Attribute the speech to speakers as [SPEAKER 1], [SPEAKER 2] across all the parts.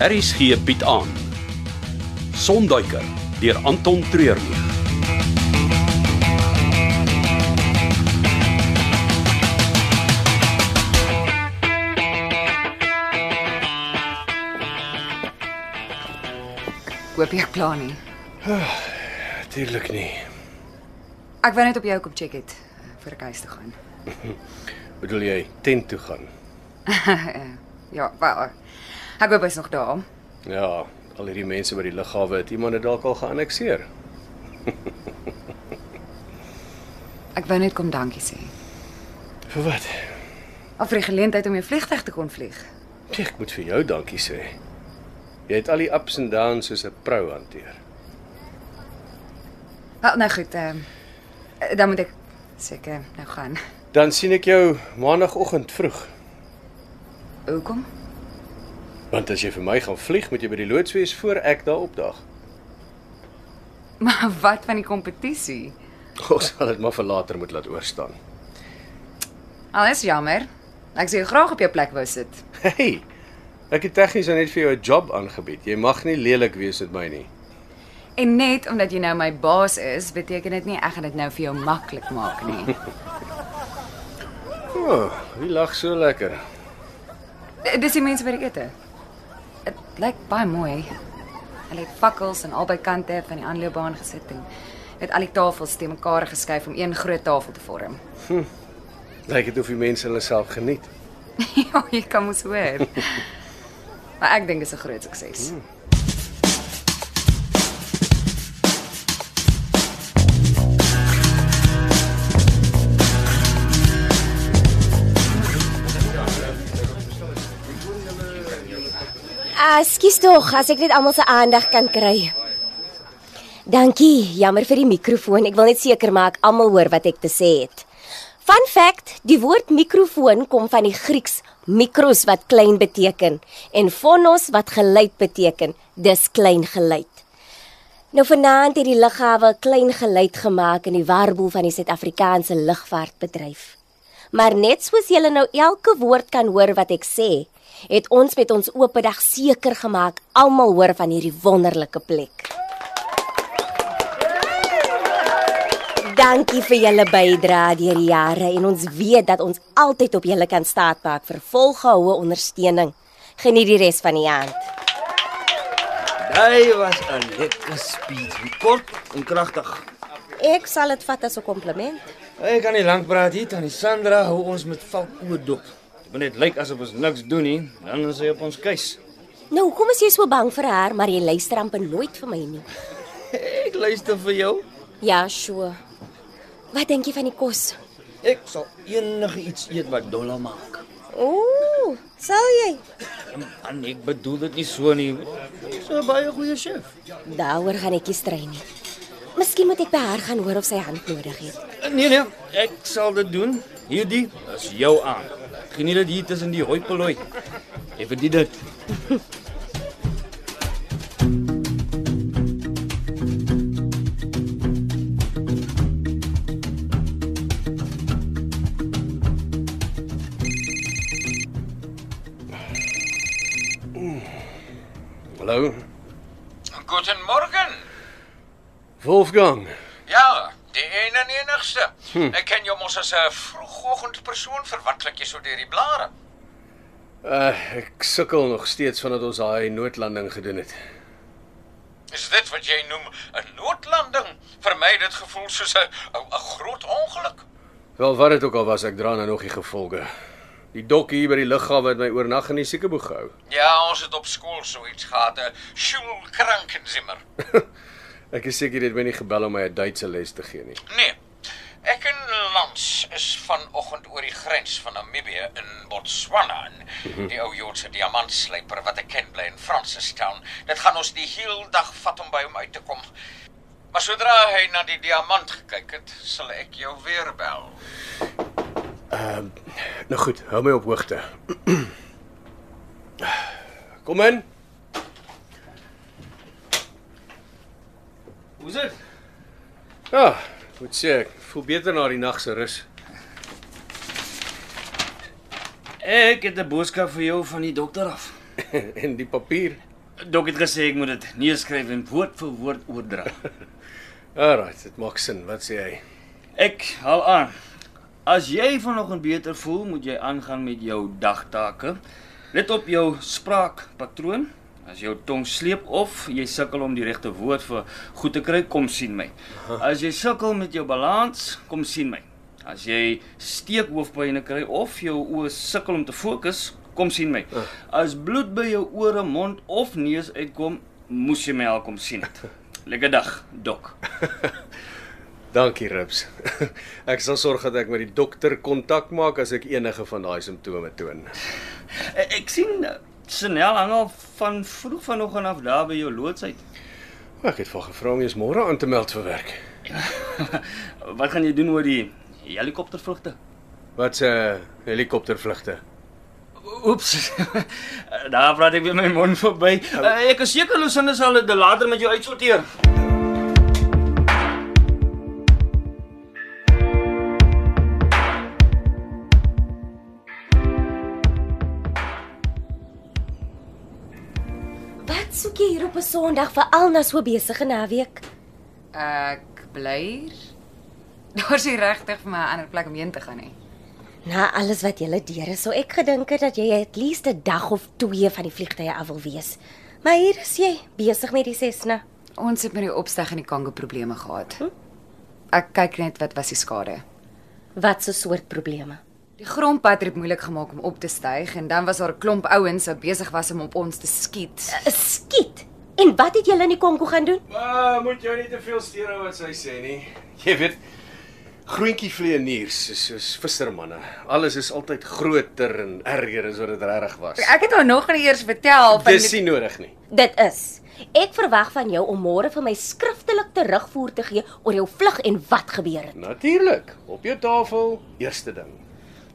[SPEAKER 1] RSG bied aan Sonduiker deur Anton Treurnig.
[SPEAKER 2] Hoop jy kla nie.
[SPEAKER 3] Natuurlik nie.
[SPEAKER 2] Ek wou net op jou kom check het vir ek huis toe gaan.
[SPEAKER 3] Bedoel jy tent toe gaan?
[SPEAKER 2] Ja, wel. Ek hoop hy's nog daar.
[SPEAKER 3] Ja, al hierdie mense by die lughawe het iemand dit dalk al geannexeer.
[SPEAKER 2] Ek wou net kom dankie sê.
[SPEAKER 3] Vir wat?
[SPEAKER 2] Al vir die geleentheid om jou vliegtyg te kon vlieg.
[SPEAKER 3] Ek moet vir jou dankie sê. Jy het al die ups en downs soos 'n vrou hanteer.
[SPEAKER 2] Wel, nou goed, ehm dan moet ek seker nou gaan.
[SPEAKER 3] Dan sien ek jou maandagooggend vroeg,
[SPEAKER 2] Hoekom?
[SPEAKER 3] want as jy vir my gaan vlieg, moet jy by die loods wees voor ek daar opdaag.
[SPEAKER 2] Maar wat van die kompetisie?
[SPEAKER 3] Ons sal dit maar vir later moet laat oorstaan.
[SPEAKER 2] Al is jammer. Ek sou jou graag op jou plek wou sit.
[SPEAKER 3] Hey. Ek het tegnies nou net vir jou 'n job aangebied. Jy mag nie lelik wees met my nie.
[SPEAKER 2] En net omdat jy nou my baas is, beteken dit nie ek gaan dit nou vir jou maklik maak nie.
[SPEAKER 3] O, oh, wie lag so lekker?
[SPEAKER 2] D- Eh, Dis die mense by die ete. Dit lyk baie mooi. Hulle het fakkels aan albei kante van die aanloopbaan gesit en het al die tafels te mekaar geskuif om een groot tafel te vorm.
[SPEAKER 3] Lyk dit of die mense hulle self geniet.
[SPEAKER 2] ja, jy kan mos hoor. maar ek dink dis 'n groot sukses.
[SPEAKER 4] Ekskuus Ah, tog, as ek net almal se aandag kan kry. Dankie, jammer vir die mikrofoon. Ek wil net seker maak almal hoor wat ek te sê het. Fun fact, die woord mikrofoon kom van die Grieks mikros wat klein beteken en phonos wat geluid beteken. Dis klein geluid. Nou vanaand het die lughawe 'n klein geluid gemaak in die warboel van die Suid-Afrikaanse lugvaartbedryf. Maar net soos julle nou elke woord kan hoor wat ek sê, het ons met ons oopdag seker gemaak almal hoor van hierdie wonderlike plek. Dankie vir julle bydrae deur die jare en ons weet dat ons altyd op julle kan staatmaak vir volgehoue ondersteuning. Geniet die res van die aand.
[SPEAKER 5] Hy was 'n lekker speech, kort en kragtig.
[SPEAKER 4] Ek sal dit vat as 'n kompliment.
[SPEAKER 5] Ek kan nie lank praat hier tannie Sandra hou ons met valk oordop. Dit moet net lyk asof ons niks doen nie, dan is hy op ons keus.
[SPEAKER 4] Nou, hoekom is jy so bang vir haar, maar jy luister amper nooit vir my nie?
[SPEAKER 5] Ek luister vir jou.
[SPEAKER 4] Ja, sure. Wat dink jy van die kos?
[SPEAKER 5] Ek sal enige iets eet wat dollar maak.
[SPEAKER 4] Ooh, sal jy?
[SPEAKER 5] Ja, Man, ek bedoel dit nie so nie. Dis 'n baie goeie chef.
[SPEAKER 4] Daaroor gaan ek nie strei nie. Miskien moet ek by haar gaan hoor of sy hand nodig het.
[SPEAKER 5] Nee nee, ek sal dit doen. Hierdie is jou aan. Geniet dit hier tussen die hoi polloi. Jy verdien dit.
[SPEAKER 3] Hallo,
[SPEAKER 6] Guten Morgen.
[SPEAKER 3] Wolfgang.
[SPEAKER 6] Ja, die een en enigste. Hm. Ek ken jou mos as 'n vroegoggendpersoon verwatlik jy so deur die blare.
[SPEAKER 3] Uh, ek sukkel nog steeds vandat ons daai noodlanding gedoen het.
[SPEAKER 6] Is dit wat jy noem 'n noodlanding? Vir my het dit gevoel soos 'n 'n- 'n groot ongeluk.
[SPEAKER 3] Wel wat dit ook al was, ek dra nou nog die gevolge. Die dok hier by die lughawe het my oornag in die siekeboeg gehou.
[SPEAKER 6] Ja, ons het op skool so iets gehad, 'n skoolkrankenzimmer.
[SPEAKER 3] Ek is seker dit het my nie gebel om my 'n Duitse les te gee nie.
[SPEAKER 6] Nee. Ek en Lans is vanoggend oor die grens van Namibië in Botswana. in Die ou Joodse diamantslyper wat ek ken bly in Francistown. Dit gaan ons die heel dag vat om by hom uit te kom. Maar sodra hy na die diamant gekyk het, sal ek jou weer bel.
[SPEAKER 3] Nou goed, hou my op hoogte. Kom in.
[SPEAKER 5] Hoe's dit?
[SPEAKER 3] Ja, moet sê ek voel beter na die nag se rus.
[SPEAKER 5] Ek het 'n boodskap vir jou van die dokter af.
[SPEAKER 3] en die papier.
[SPEAKER 5] Dok het gesê ek moet dit neerskryf en woord vir woord oordra.
[SPEAKER 3] Alrite, dit maak sin. Wat sê hy?
[SPEAKER 5] Ek haal aan. As jy vanoggend beter voel, moet jy aangaan met jou dagtake. Let op jou spraakpatroon. As jou tong sleep of jy sukkel om die regte woord vir goed te kry, kom sien my. As jy sukkel met jou balans, kom sien my. As jy steekhoofpyne kry of jou oë sukkel om te fokus, kom sien my. As bloed by jou ore, mond of neus uitkom, moes jy my al kom sien het. Lekker dag, Dok.
[SPEAKER 3] Dankie, Rips. ek sal sorg dat ek met die dokter kontak maak as ek enige van daai simptome toon.
[SPEAKER 5] Ek ek sien eh, Chanel hang al van vroeg vanoggend af daar by jou loods uit.
[SPEAKER 3] Ek het vir haar gevra om jy's môre aan te meld vir werk.
[SPEAKER 5] Wat gaan jy doen oor die helikoptervlugte?
[SPEAKER 3] Wat se helikoptervlugte?
[SPEAKER 5] Oeps. daar praat ek weer my mond verby. Eh, Ek is seker Lusinda sal dit later met jou uitsorteer.
[SPEAKER 4] Wat soek jy hier op 'n Sondag veral na so besige naweek?
[SPEAKER 2] Ek bly hier. Daar's nie regtig vir my 'n ander plek om heen te gaan nie.
[SPEAKER 4] Na alles wat jy deur is, sou ek gedink het dat jy at least 'n dag of 2 van die vliegtye af wil wees. Maar hier is jy besig met die Cessna.
[SPEAKER 2] Ons het met die opstyg en die kango probleme gehad. Ek kyk net wat was die skade.
[SPEAKER 4] Wat 'n soort probleme.
[SPEAKER 2] Die grondpad het dit moeilik gemaak om op te styg en dan was daar 'n klomp ouens wat besig was om op ons te skiet.
[SPEAKER 4] Skiet. En wat het julle in die Kongo gaan doen?
[SPEAKER 3] Maar moet jou nie te veel steur aan wat sy sê nie. Jy weet, groentjie vleieniers is soos vissermanne. Alles is altyd groter en erger as wat dit regtig was.
[SPEAKER 2] Ek het haar nog nie eers vertel van
[SPEAKER 3] Dis
[SPEAKER 2] die,
[SPEAKER 3] nie nodig nie.
[SPEAKER 4] Dit is. Ek verwag van jou om môre vir my skriftelik terugvoer te gee oor jou vlug en wat gebeur het.
[SPEAKER 3] Natuurlik, op jou tafel, eerste ding.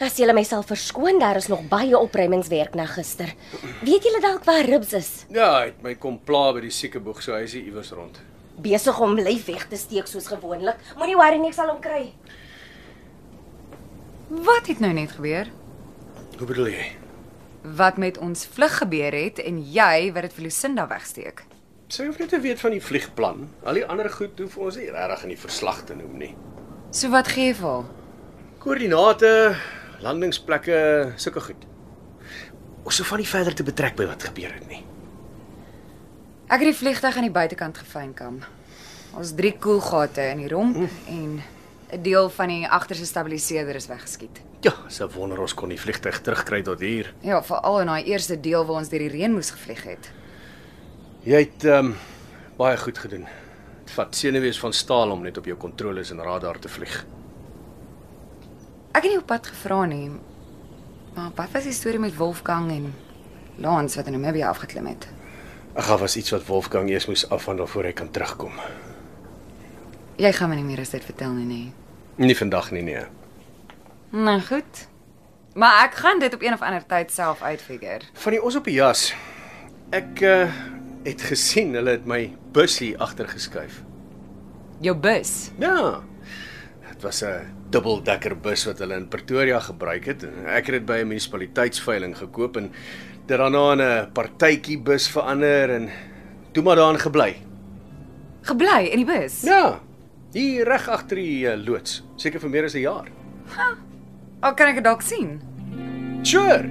[SPEAKER 4] As jy my sal verskoon, daar is nog baie opruimingswerk na gister. Weet julle dalk waar Ribs is?
[SPEAKER 3] Ja, hy het my kom pla by die siekeboeg, so hy is hier iewers rond.
[SPEAKER 4] Besig om lyf weg te steek soos gewoonlik. Moenie worry nie, ek sal hom kry.
[SPEAKER 2] wat het nou net gebeur?
[SPEAKER 3] Hoe bedoel jy?
[SPEAKER 2] Wat met ons vlug gebeur het en jy wat dit vir Lucinda wegsteek.
[SPEAKER 3] Sy hoef net te weet van die vliegplan. Al die ander goed hoef ons nie regtig in die verslag te noem nie.
[SPEAKER 2] So wat gee jy vir haar?
[SPEAKER 3] Koördinate, landingsplekke, sulke goed. Ons hoef van nie verder te betrek by wat gebeur het nie.
[SPEAKER 2] Ek het die vliegtyg aan die buitekant gefynkam. Ons drie koelgate in die romp en 'n deel van die agterste stabiliseerder is weggeskiet.
[SPEAKER 3] Ja, se wonder ons kon die vliegtyg terugkry tot hier.
[SPEAKER 2] Ja, veral in daai eerste deel waar ons deur die reën moes gevlieg het.
[SPEAKER 3] Jy het ehm um, baie goed gedoen. Dit vat senuwees van staal om net op jou kontroles en radar te vlieg.
[SPEAKER 2] Ek het nie op pad gevra nie. Maar wat was die storie met Wolfgang en Lance wat in Namibië afgeklim het?
[SPEAKER 3] Ag, daar was iets wat Wolfgang eers moes afhandel voor hy kan terugkom.
[SPEAKER 2] Jy gaan my nie meer as dit vertel nie, nee. nê.
[SPEAKER 3] Nie vandag nie, nee.
[SPEAKER 2] Nou goed. Maar ek gaan dit op een of ander tyd self uitfigure.
[SPEAKER 3] Van die os op die jas. Ek uh, het gesien hulle het my bussie agtergeskuif.
[SPEAKER 2] Jou bus.
[SPEAKER 3] Ja. Dit was 'n dubbeldekker bus wat hulle in Pretoria gebruik het. Ek het dit by 'n munisipaliteitsveiling gekoop en dit daarna in 'n partytjie bus verander en toe maar daarin gebly.
[SPEAKER 2] Gebly in die bus.
[SPEAKER 3] Ja. Hier reg agter die eh, loods, seker vir meer as 'n jaar.
[SPEAKER 2] Al Oh, kan ek dit dalk sien.
[SPEAKER 3] Sure.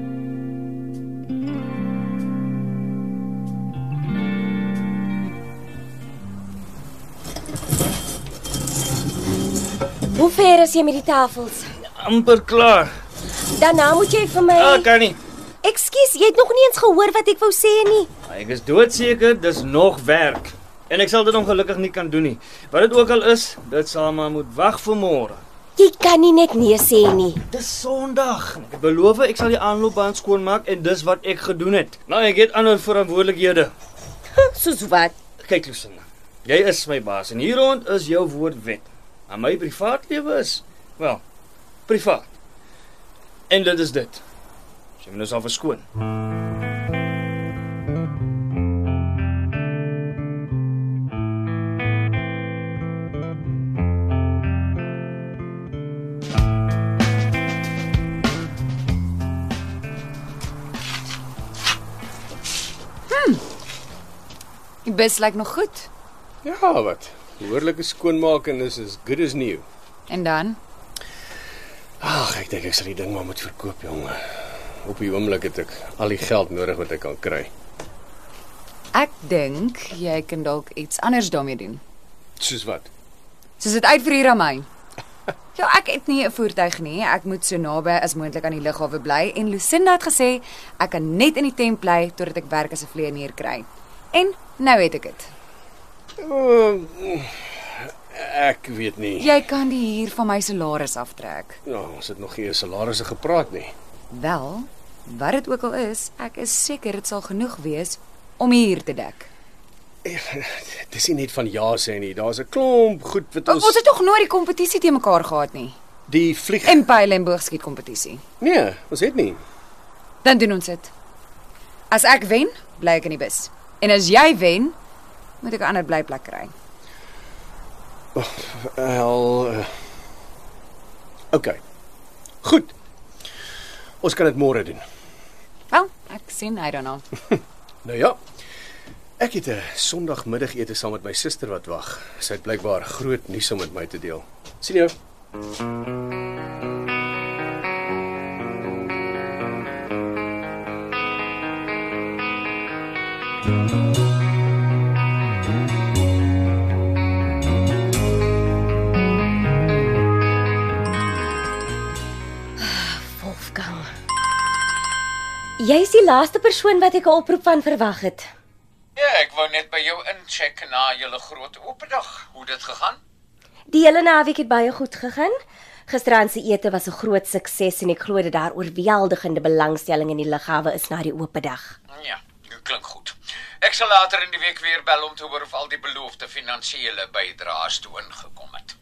[SPEAKER 4] Hoe ver is jy met die tafels?
[SPEAKER 5] amper klaar.
[SPEAKER 4] Daarna moet jy vir my
[SPEAKER 5] Ah, kan nie.
[SPEAKER 4] Ekskuus, jy het nog nie eens gehoor wat ek wou sê nie.
[SPEAKER 5] Ek is doodseker dis nog werk. En ek sal dit ongelukkig nie kan doen nie. Wat dit ook al is, dit sal maar moet wag vir môre.
[SPEAKER 4] Jy kan nie net nee sê nie.
[SPEAKER 5] Dis Sondag. Ek het beloof ek sal die aanloopbaan skoonmaak en dis wat ek gedoen het. Nou ek het ander verantwoordelikhede.
[SPEAKER 4] Soos wat?
[SPEAKER 5] Kyk Lucinda, jy is my baas en hier rond is jou woord wet. Aan my privaatlewe is wel privaat. En dit is dit. As Jy moet ons al verskoon.
[SPEAKER 2] bus lyk nog goed.
[SPEAKER 3] Ja, wat. Behoorlike skoonmaak en is as good as new.
[SPEAKER 2] En dan
[SPEAKER 3] Ag, ek dink ek sal die ding maar moet verkoop, jong. Op die oomblik het ek al die geld nodig wat ek kan kry.
[SPEAKER 2] ek dink jy kan dalk iets anders daarmee doen.
[SPEAKER 3] Soos wat?
[SPEAKER 2] Soos dit uitverhuur aan my. Ja, ek het nie 'n voertuig nie. Ek moet so naby as moontlik aan die lughawe bly en Lucinda het gesê ek kan net in die tent bly totdat ek werk as 'n vleienier kry. En nou het ek dit.
[SPEAKER 3] Uh, ek weet nie.
[SPEAKER 2] Jy kan die huur van my salaris aftrek.
[SPEAKER 3] Ja, ons het nog nie oor salarisse gepraat nie.
[SPEAKER 2] Wel, wat dit ook al is, ek is seker dit sal genoeg wees om die huur te dek.
[SPEAKER 3] Dis nie net van ja sê nie. Daar's 'n klomp goed wat
[SPEAKER 2] Ons, ons
[SPEAKER 3] ons
[SPEAKER 2] het nog nooit die kompetisie te mekaar gehad nie.
[SPEAKER 3] die vlieg
[SPEAKER 2] En pile en boogskiet kompetisie.
[SPEAKER 3] Nee, ons het nie.
[SPEAKER 2] Dan doen ons dit. As ek wen, bly ek in die bus. En as jy wen, moet ek 'n ander blyplek kry.
[SPEAKER 3] Wel. Uh, okay. Goed. Ons kan dit môre doen.
[SPEAKER 2] Wel, ek sien, I don't know.
[SPEAKER 3] Nou ja. Ek het 'n Sondagmiddagete saam met my suster wat wag. Sy het blykbaar groot nuus om met my te deel. Sien jou.
[SPEAKER 4] Wolfgang. Jy is die laaste persoon wat ek 'n oproep van verwag het.
[SPEAKER 6] Ja, ek wou net by jou incheck na julle groot oopdag. Hoe het dit gegaan?
[SPEAKER 4] Die hele naweek het baie goed gegaan. Gisterand se ete was 'n groot sukses en ek glo dat daar oorweldigende belangstelling in die lughawe is na die oopdag.
[SPEAKER 6] Ja, dit klink goed. Ek sal later in die week weer bel om te hoor of al die beloofde finansiële bydraes toe ingekom het.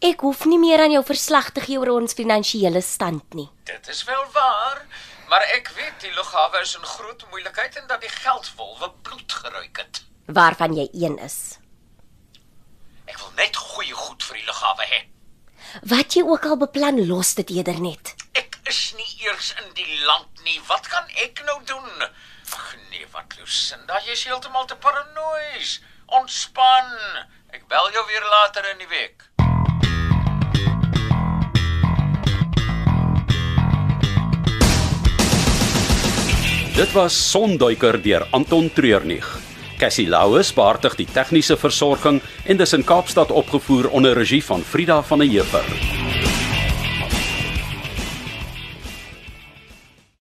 [SPEAKER 4] Ek hoef nie meer aan jou verslag te gee oor ons finansiële stand nie.
[SPEAKER 6] Dit is wel waar, maar ek weet die lughawe is in groot moeilikheid en dat die geldwolwe bloed geruik het.
[SPEAKER 4] Waarvan jy een is.
[SPEAKER 6] Ek wil net goeie goed vir die lughawe hê.
[SPEAKER 4] Wat jy ook al beplan, los dit eerder net.
[SPEAKER 6] Ek is nie eers in die land nie. Wat kan ek nou doen? Ag nee, wat Lucinda, jy's heeltemal te paranoïes. Ontspan. Ek bel jou weer later in die week.
[SPEAKER 1] Dit was Sonduiker deur Anton Treurnig. Cassie Louws beheerdig die tegniese versorging en dis in Kaapstad opgevoer onder regie van Frida van der Heever.